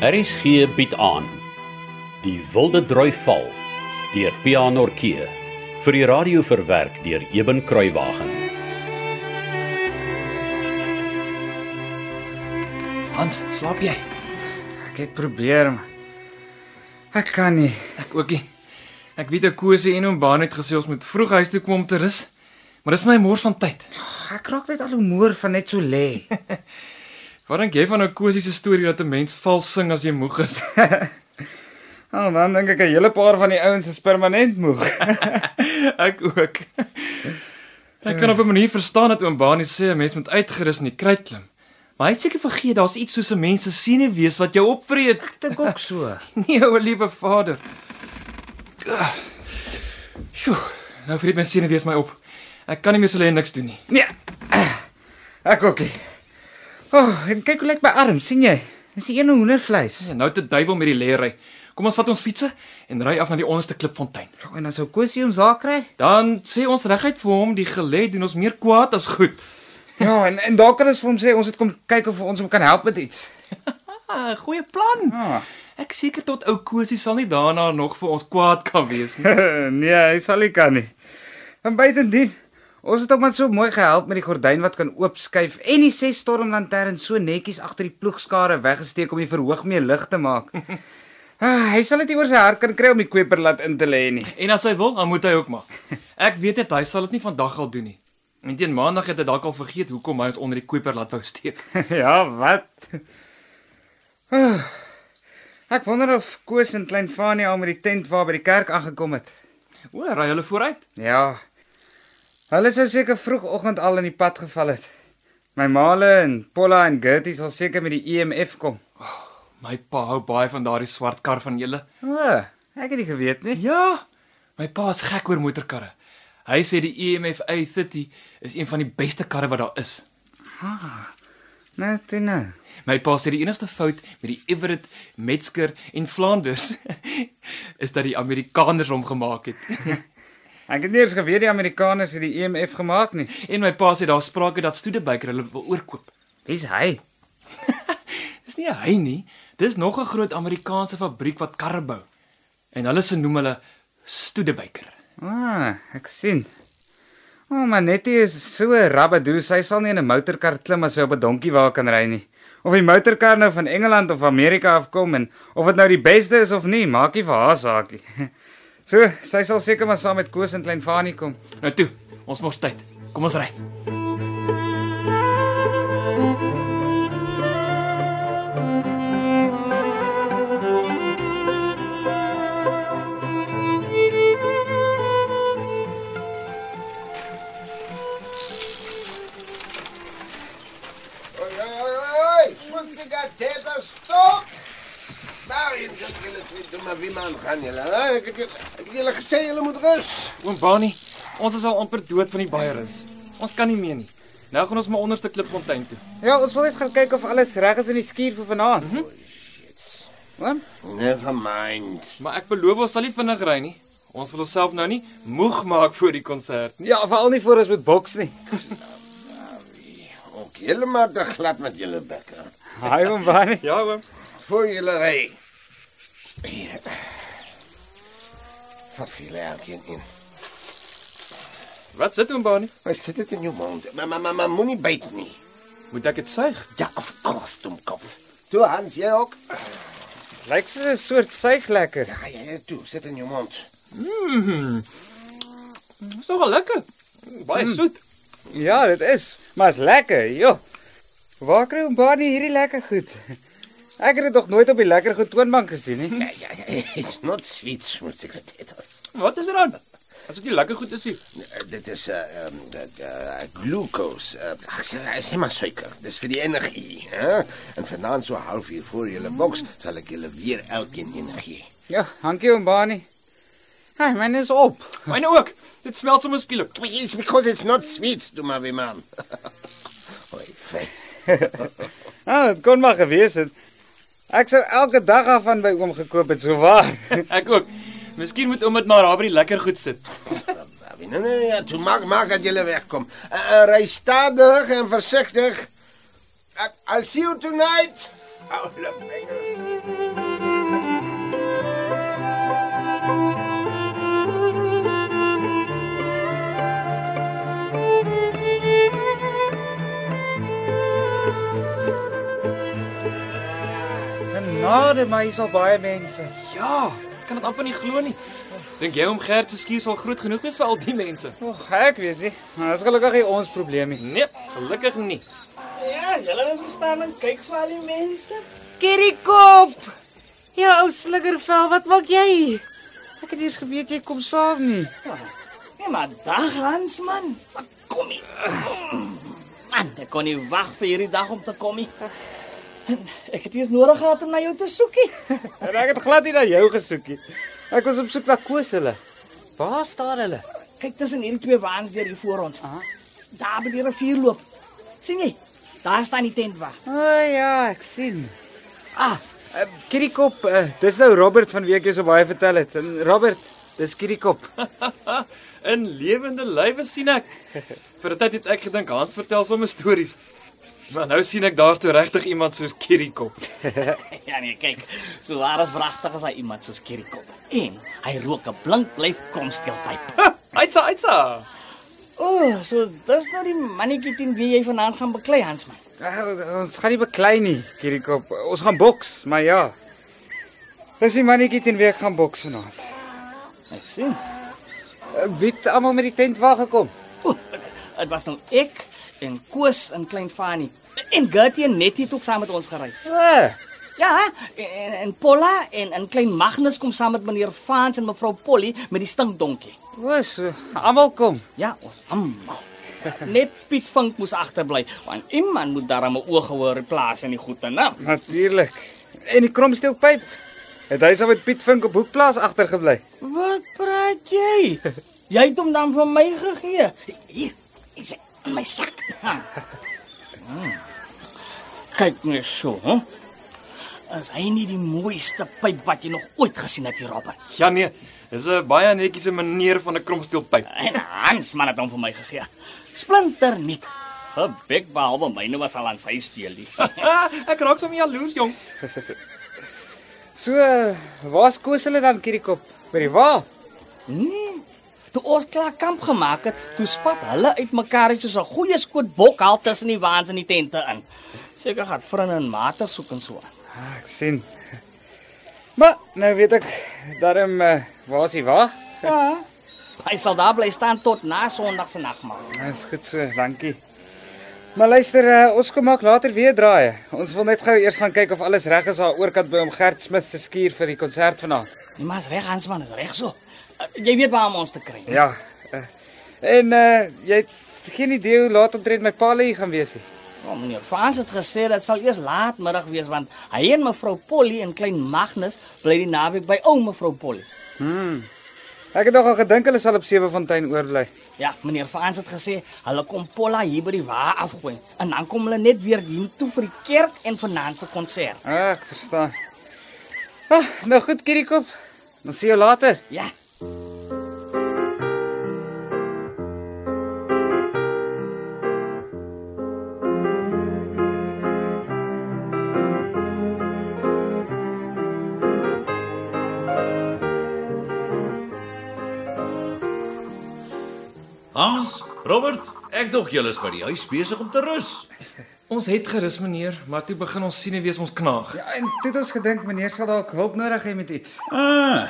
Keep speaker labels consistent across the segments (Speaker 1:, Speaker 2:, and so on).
Speaker 1: RSG bied aan Die Wilde Droi Val deur Pianorkee vir die radio verwerk deur Eben Kruiwagen.
Speaker 2: Hans, slaap jy?
Speaker 3: Ek het probeer. maar Ek kan nie.
Speaker 2: Ek ookie. Ek weet ek Kose en hom baan het gesê ons moet vroeg huis toe kom om te rus. Maar dis my mors van tyd.
Speaker 3: Ek raak net al hoe moer van net so lê.
Speaker 2: Wat dink jy van ou Kose se storie dat 'n mens vals sing as jy moeg is?
Speaker 3: Al dan Oh, dink ek 'n hele paar van die ouens is permanent moeg.
Speaker 2: ek ook. Ek kan op 'n manier verstaan dat oom Baanie sê 'n mens moet uitgerus in die kruit klim. Maar hy het seker vergeet daar's iets soos 'n mens se senuwees wat jou opvreet.
Speaker 3: Dink ook so.
Speaker 2: Nee, o liewe Vader. Sjoe, nou vreet my senuwees my op. Ek kan nie meer so lê en niks doen nie.
Speaker 3: Nee. Ek ook nie. O, oh, en kyk hoe lyk my arm, sien jy? Dis die ene hoendervleis.
Speaker 2: Ja, nou te duiwel met die leery. Kom ons vat ons fietsse en ry af na die onderste klipfontein.
Speaker 3: Ja, en as ou Kosie ons daar kry?
Speaker 2: Dan sê ons reguit vir hom, die gelê doen ons meer kwaad as goed.
Speaker 3: Ja, en en daar kan ons vir hom sê ons het kom kyk of ons hom kan help met iets.
Speaker 2: Ah, goeie plan.
Speaker 3: Ah.
Speaker 2: Ek seker tot ou Kosie sal nie daarna nog vir ons kwaad kan wees nie.
Speaker 3: nee, hy sal nie kan nie. En buitendien, ons het hom net so mooi gehelp met die gordyn wat kan oopskuif en die ses stormlanterns so netjies agter die ploegskare weggesteek om die verhoog mee lig te maak. Ah, hy sal dit nie oor sy hart kan kry om die koperlat in te lê nie.
Speaker 2: En as hy wil, dan moet hy ook maar. Ek weet net hy sal dit nie vandag al doen nie. En teen maandag het hy dalk al vergeet hoekom hy ons onder die koeper laat wou steek.
Speaker 3: ja, wat? Ah, Ek wonder of Koos en Klein Fanie al met die tent waar by die kerk aangekom het.
Speaker 2: O, ry hulle vooruit.
Speaker 3: Ja. Hulle sou seker vroegoggend al in die pad geval het. My maale en Polla en Gertie sal seker met die EMF kom.
Speaker 2: My pa hou baie van daardie swart kar van julle.
Speaker 3: O, oh, ek het nie geweet nie.
Speaker 2: Ja, my pa is gek oor motorkarre. Hy sê die E EMF A30 is een van die beste karre wat daar is.
Speaker 3: Nou, toe nou.
Speaker 2: My pa sê die enigste fout met die Everett, Metzger en Flanders is dat die Amerikaners hom gemaak het.
Speaker 3: Ek het nie eens geweet die Amerikaners het die EMF gemaak nie.
Speaker 2: en my pa sê daar sprake dat Studebaker hulle wil oorkoop.
Speaker 3: Wie's hy?
Speaker 2: Dis nie hy nie, dis nog 'n groot Amerikaanse fabriek wat karre bou. En hulle se noem hulle Studebaker.
Speaker 3: O, ah, ek sien. O, oh, maar Nettie is so rabbedoe, sy sal nie in 'n motorkar klim as sy op 'n donkie waar kan ry nie. Of die motorkar nou van Engeland of Amerika af kom en of dit nou die beste is of nie, maak nie vir haar saak nie. So, sy sal seker maar saam met Koos en Klein Fanie kom.
Speaker 2: Nou toe, ons mors tyd. Kom ons ry.
Speaker 4: Oi, oi, oi, schmutziger Teberstock! Daarin dat jullie het niet doen, maar wie man gaan jullie, hè? Ik heb jullie- ik heb jullie gezegd, jullie moeten rust.
Speaker 2: Oom Bani, ons is al amper dood van die baierins. Ons kan nie meer nie. Nou gaan ons maar onderste klipfontein toe.
Speaker 3: Ja, ons wil net gaan kyk of alles reg is in die skuur vir vanaand. Mm -hmm. Oom,
Speaker 4: Never mind.
Speaker 2: Maar ek beloof ons sal nie vinnig ry nie. Ons wil onsself nou nie moeg maak voor die konsert.
Speaker 3: ja, veral nie voor ons met boks nie.
Speaker 4: Ook helemaal te glad met jullie bekken.
Speaker 3: Haai hom baie.
Speaker 2: Ja, oom.
Speaker 4: Voor jullie rij. Hier. Wat viel er eigenlijk in?
Speaker 2: Wat sit oom Bani?
Speaker 4: Wat zit het in je mond? Maar, maar, maar, maar moet niet bijten, niet.
Speaker 2: Moet ek dit suig?
Speaker 4: Ja, of kost om kop. Toe, Hans, jij ook? Ah,
Speaker 3: Lyk soos 'n soort suiglekker.
Speaker 4: Ja, ja, ja, toe, zit in je mond.
Speaker 2: Dis nogal lekker. Baie soet.
Speaker 3: Ja, dit is, maar is lekker, joh. Waar kry hom baie hierdie lekker goed? Ek het dit nog nooit op die lekker goed toonbank gesien nie.
Speaker 4: Ja, ja, ja, it's not sweet, schmutziger Teberstock.
Speaker 2: Wat is er aan? As dit nie lekker goed is nie.
Speaker 4: Eh, Dit is 'n uh, um, uh, glucose. Uh, ag, sê, sê maar suiker. Dis vir die energie, hè? En vanaand so half uur voor julle boks sal ek julle weer elkeen een gee.
Speaker 3: Ja, dankie hom baie. Hy, myne is op.
Speaker 2: Myne ook. Dit smelt sommer skielik.
Speaker 4: It's because it's not sweet, doe maar weer man. Oi, fyn.
Speaker 3: Ah, dit kon maar gewees het. Ek sou elke dag af van by oom gekoop het, so waar.
Speaker 2: Ek ook. Miskien moet oom dit maar daar by die lekker goed sit.
Speaker 4: Nee, nee, nee, ja, toe maak maak dat julle wegkom. Uh, uh, ry stadig en Eh, Oh, versigtig. Uh, I'll see you tonight. Oude mengels.
Speaker 3: Genade my, hier's al baie mense.
Speaker 2: Ja, ek kan dit amper nie glo nie. Dink jy om Gert se skuur sal groot genoeg wees vir al die mense?
Speaker 3: Oeg, ek weet nie. Maar dis gelukkig nie ons probleem nie.
Speaker 2: Nee, gelukkig nie.
Speaker 5: Ja, julle was gestaan en kyk vir al die mense. Kerrykop.
Speaker 6: Ja, ou slingervel, wat maak jy?
Speaker 3: Ek het eers geweet jy kom saam nie.
Speaker 5: Nee, maar dag Hans man. Maar Kom hier. Man, ek kon nie wag vir hierdie dag om te kom nie. Ek het eers nodig gehad om na jou te soekie.
Speaker 3: En ek het glad nie na jou gesoek nie. Ek was op soek na Koos hulle. Waar staan hulle?
Speaker 5: Kyk tussen hierdie twee waans deur hier voor ons. Daar by die rivier loop. sien jy? Daar staan die tent wag.
Speaker 3: O oh, ja, ek sien. Ah, uh, Kirikop, uh, dis nou Robert van wie ek jou so baie vertel het. En Robert, dis Kirikop.
Speaker 2: Ah, In lewende lywe sien ek. Vir 'n tyd het ek gedink Hans vertel sommer stories. Maar nou sien ek daar's toe regtig iemand soos Kirikop.
Speaker 5: Ja nee, kyk. So daar is pragtig as hy iemand soos Kerrykop. En hy rook 'n blink blyf komstelpyp.
Speaker 2: Aitsa, aitsa.
Speaker 5: O, oh, so dis nou die mannetjie teen wie jy vanaand gaan beklei, Hansman.
Speaker 3: Uh, ons gaan nie beklei nie, Kirikop. Ons gaan boks, maar ja. Dis die mannetjie teen wie ek gaan boks vanaand.
Speaker 5: Ek sien.
Speaker 3: Uh, Wie het almal met die tent waar gekom?
Speaker 5: O, dit was nou ek en Koos en klein Fani. En Gertie en Nettie het ook saam met ons gery.
Speaker 3: Ah,
Speaker 5: Ja, en, en Polla en en klein Magnus kom saam met meneer Vans en mevrou Polly met die stinkdonkie.
Speaker 3: was so, almal kom.
Speaker 5: Ja, ons almal. Net Piet Vink moes agterbly, want iemand moet daarmee 'n oog gehoor plaas in die goeie naam.
Speaker 3: Natuurlik. En die kromsteelpyp. Het hy saam met Piet Vink op Hoekplaas agtergebly?
Speaker 5: Wat praat jy? Jy het hom dan van my gegee. Hier, is hy in my sak. Ha. Hmm. Kyk net so, hè? As hy nie die mooiste pyp wat jy nog ooit gesien het hier, Robert.
Speaker 2: Ja nee, dis 'n baie netjiese manier van 'n kromsteelpyp.
Speaker 5: En Hans man het hom vir my gegee. Splinter nie. Gebek behalwe myne was al aan sy steel die.
Speaker 2: Ah, ek raak sommer jaloers, jong.
Speaker 3: So, eh, waar's Koos hulle dan Kirikop? By die wa?
Speaker 5: Nee. Toe ons klaar kamp gemaak het, toe spat hulle uitmekaar soos 'n goeie skoot bok haal tussen die waans in die tente in. Seker gaan vriende en mate soek en so aan.
Speaker 3: Ah, ek sien. Maar nou weet ek daarom uh, waar's hy wa?
Speaker 5: Ja. Hy sal daar bly staan tot na Sondag se nagmaal.
Speaker 3: Dis Nou, goed so, dankie. Maar luister, uh, ons kom maak later weer draai. Ons wil net gou eers gaan kyk of alles reg is daar oorkant by om Gert Smith se skuur vir die konsert vanaand.
Speaker 5: Nee, maar is reg Hans man, is reg so. Uh, Jy weet waar om ons te kry.
Speaker 3: Ja. Uh, en uh, jy het geen idee hoe laat omtrent my pa lê gaan wees nie.
Speaker 5: Oh, meneer Frans het gesê dit sal eers laatmiddag wees want hy en mevrou Polly en klein Magnus bly die naweek by ou mevrou Polly.
Speaker 3: Hmm. Ek het nogal gedink hulle sal op Sewefontein oorbly.
Speaker 5: Ja, meneer Frans het gesê hulle kom Polla hier by die wa afgooi en dan kom hulle net weer hiernatoe vir die kerk en vanaand se konsert.
Speaker 3: Ah, ek verstaan. Ah, nou goed, Kirikop. Dan sien jou later.
Speaker 5: Ja.
Speaker 7: Hans, Robert, ek dog julle is by die huis besig om te rus.
Speaker 2: Ons het gerus, meneer, maar toe begin ons sien en wees ons knaag.
Speaker 3: Ja, en toe het ons gedink meneer sal dalk hulp nodig hê met iets.
Speaker 7: Ah,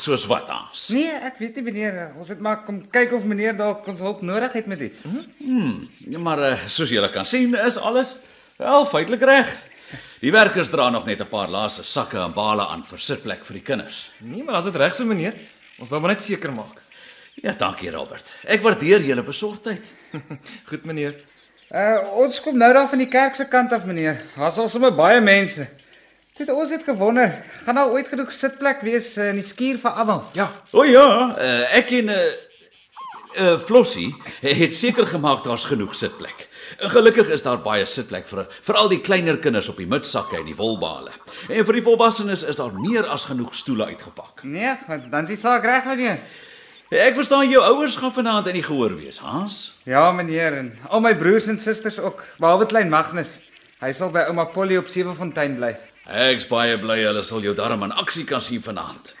Speaker 7: soos wat Hans?
Speaker 3: Nee, ek weet nie meneer, ons het maar kom kyk of meneer dalk ons hulp nodig het met iets.
Speaker 7: Ja, Maar eh, soos julle kan sien, is alles wel feitelik reg. Die werkers dra nog net 'n paar laaste sakke en bale aan vir sitplek vir die kinders.
Speaker 2: Nee, maar as dit reg so, meneer, ons wou maar net seker maak.
Speaker 7: Ja, dankie Robert. Ek waardeer julle besorgdheid.
Speaker 2: Goed, meneer.
Speaker 3: Uh ons kom nou daar van die kerk se kant af meneer. Daar's al sommer baie mense. Dit ons het gewonder, gaan daar ooit genoeg sitplek wees eh, in die skuur vir almal?
Speaker 2: Ja,
Speaker 7: O ja, eh, ek en eh eh Flossie het seker gemaak daar's genoeg sitplek. Gelukkig is daar baie sitplek vir vir al die kleiner kinders op die midsakke en die wolbale. En vir die volwassenes is daar meer as genoeg stoele uitgepak.
Speaker 3: Nee, want dan is die saak reg meneer.
Speaker 7: Ek verstaan jou ouers gaan vanaand in die gehoor wees, Hans.
Speaker 3: Ja meneer en al my broers en susters ook, behalwe klein Magnus. Hy sal by ouma Polly op Sewefontein bly.
Speaker 7: Ek's baie bly hulle sal jou darm in aksie kan sien vanaand.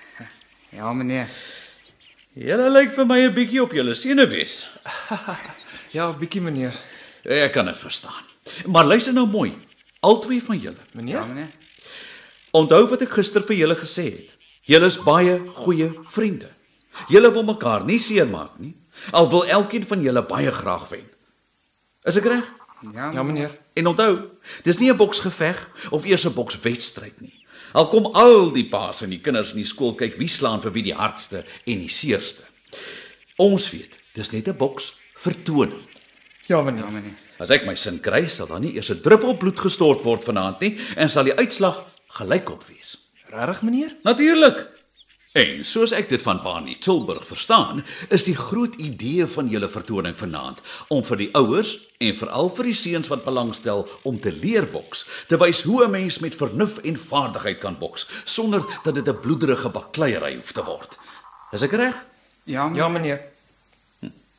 Speaker 3: Ja meneer.
Speaker 7: Julle lyk vir my 'n bietjie op julle senuwees.
Speaker 2: ja, bietjie meneer.
Speaker 7: Ek kan dit verstaan. Maar luister nou mooi. Albei van julle.
Speaker 3: Ja,
Speaker 2: Meneer?
Speaker 3: meneer.
Speaker 7: Onthou wat ek gister vir julle gesê het. Julle is baie goeie vriende. Julle wil mekaar nie seermaak nie, al wil elkeen van julle baie graag wen. Is ek reg?
Speaker 2: Ja, meneer.
Speaker 7: En onthou, dis nie 'n boksgeveg of eers 'n bokswedstryd nie. Al kom al die paas en die kinders in die skool kyk wie slaan vir wie die hardste en die seerste. Ons weet, dis net 'n boks vertoning.
Speaker 2: Ja, meneer.
Speaker 7: As ek my sin kry, sal daar nie eers 'n druppel bloed gestort word vanaand nie en sal die uitslag gelykop wees.
Speaker 2: Regtig, meneer?
Speaker 7: Natuurlik. En soos ek dit van Barney Tilburg verstaan, is die groot idee van julle vertoning vanaand om vir die ouers en veral vir die seuns wat belangstel om te leer boks, te wys hoe 'n mens met vernuf en vaardigheid kan boks sonder dat dit 'n bloederige bakleierery hoef te word. Is ek reg?
Speaker 3: Ja, meneer.
Speaker 2: Ja, meneer.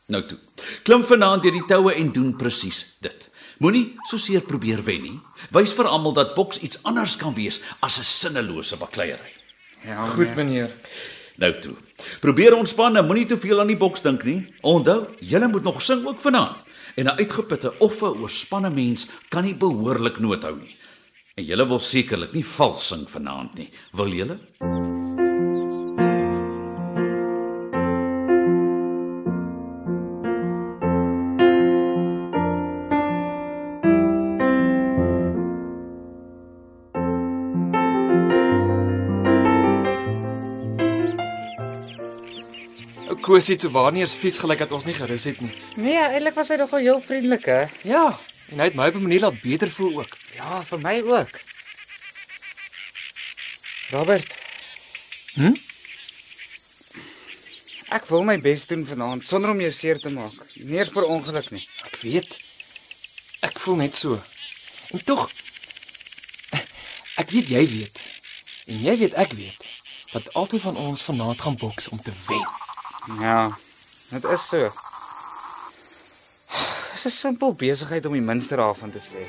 Speaker 7: Nou toe. Klim vanaand deur die toue en doen presies dit. Moenie so seer probeer wen nie. Wys vir almal dat boks iets anders kan wees as 'n sinnelose bakleierery.
Speaker 3: Ja,
Speaker 2: Goed, meneer.
Speaker 7: Nou toe. Probeer ontspan en moenie te veel aan die boks dink nie. Onthou, julle moet nog sing ook vanaand. En 'n uitgeputte of 'n oorspanne mens kan nie behoorlik noot hou nie. En julle wil sekerlik nie vals sing vanaand nie. Wil julle?
Speaker 2: Ou Koos het so waarneers vies gelyk dat ons nie gerus het nie.
Speaker 3: Nee, eintlik was hy nogal heel vriendelik, hè?
Speaker 2: Ja, en hy het my op 'n manier laat beter voel ook.
Speaker 3: Ja, vir my ook. Robert.
Speaker 2: Hm?
Speaker 3: Ek wil my bes doen vanaand sonder om jou seer te maak. Nie eens per ongeluk nie.
Speaker 2: Ek weet. Ek voel net so. En tog ek weet jy weet. En jy weet ek weet dat albei van ons vanaand gaan boks om te wen.
Speaker 3: Ja. Dit is so. Dis 'n simpel besigheid om die minste daarvan te sê.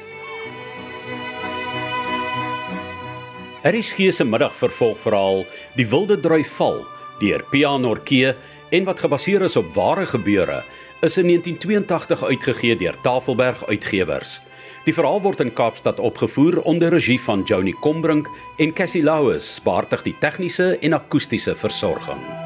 Speaker 1: RSG se middagvervolgverhaal Die Wilde Droi Val deur Pianorkee en wat gebaseer is op ware gebeure is in 1982 uitgegee deur Tafelberg Uitgewers. Die verhaal word in Kaapstad opgevoer onder regie van Johnny Combrink en Cassie Louws, behartig die tegniese en akoestiese versorging.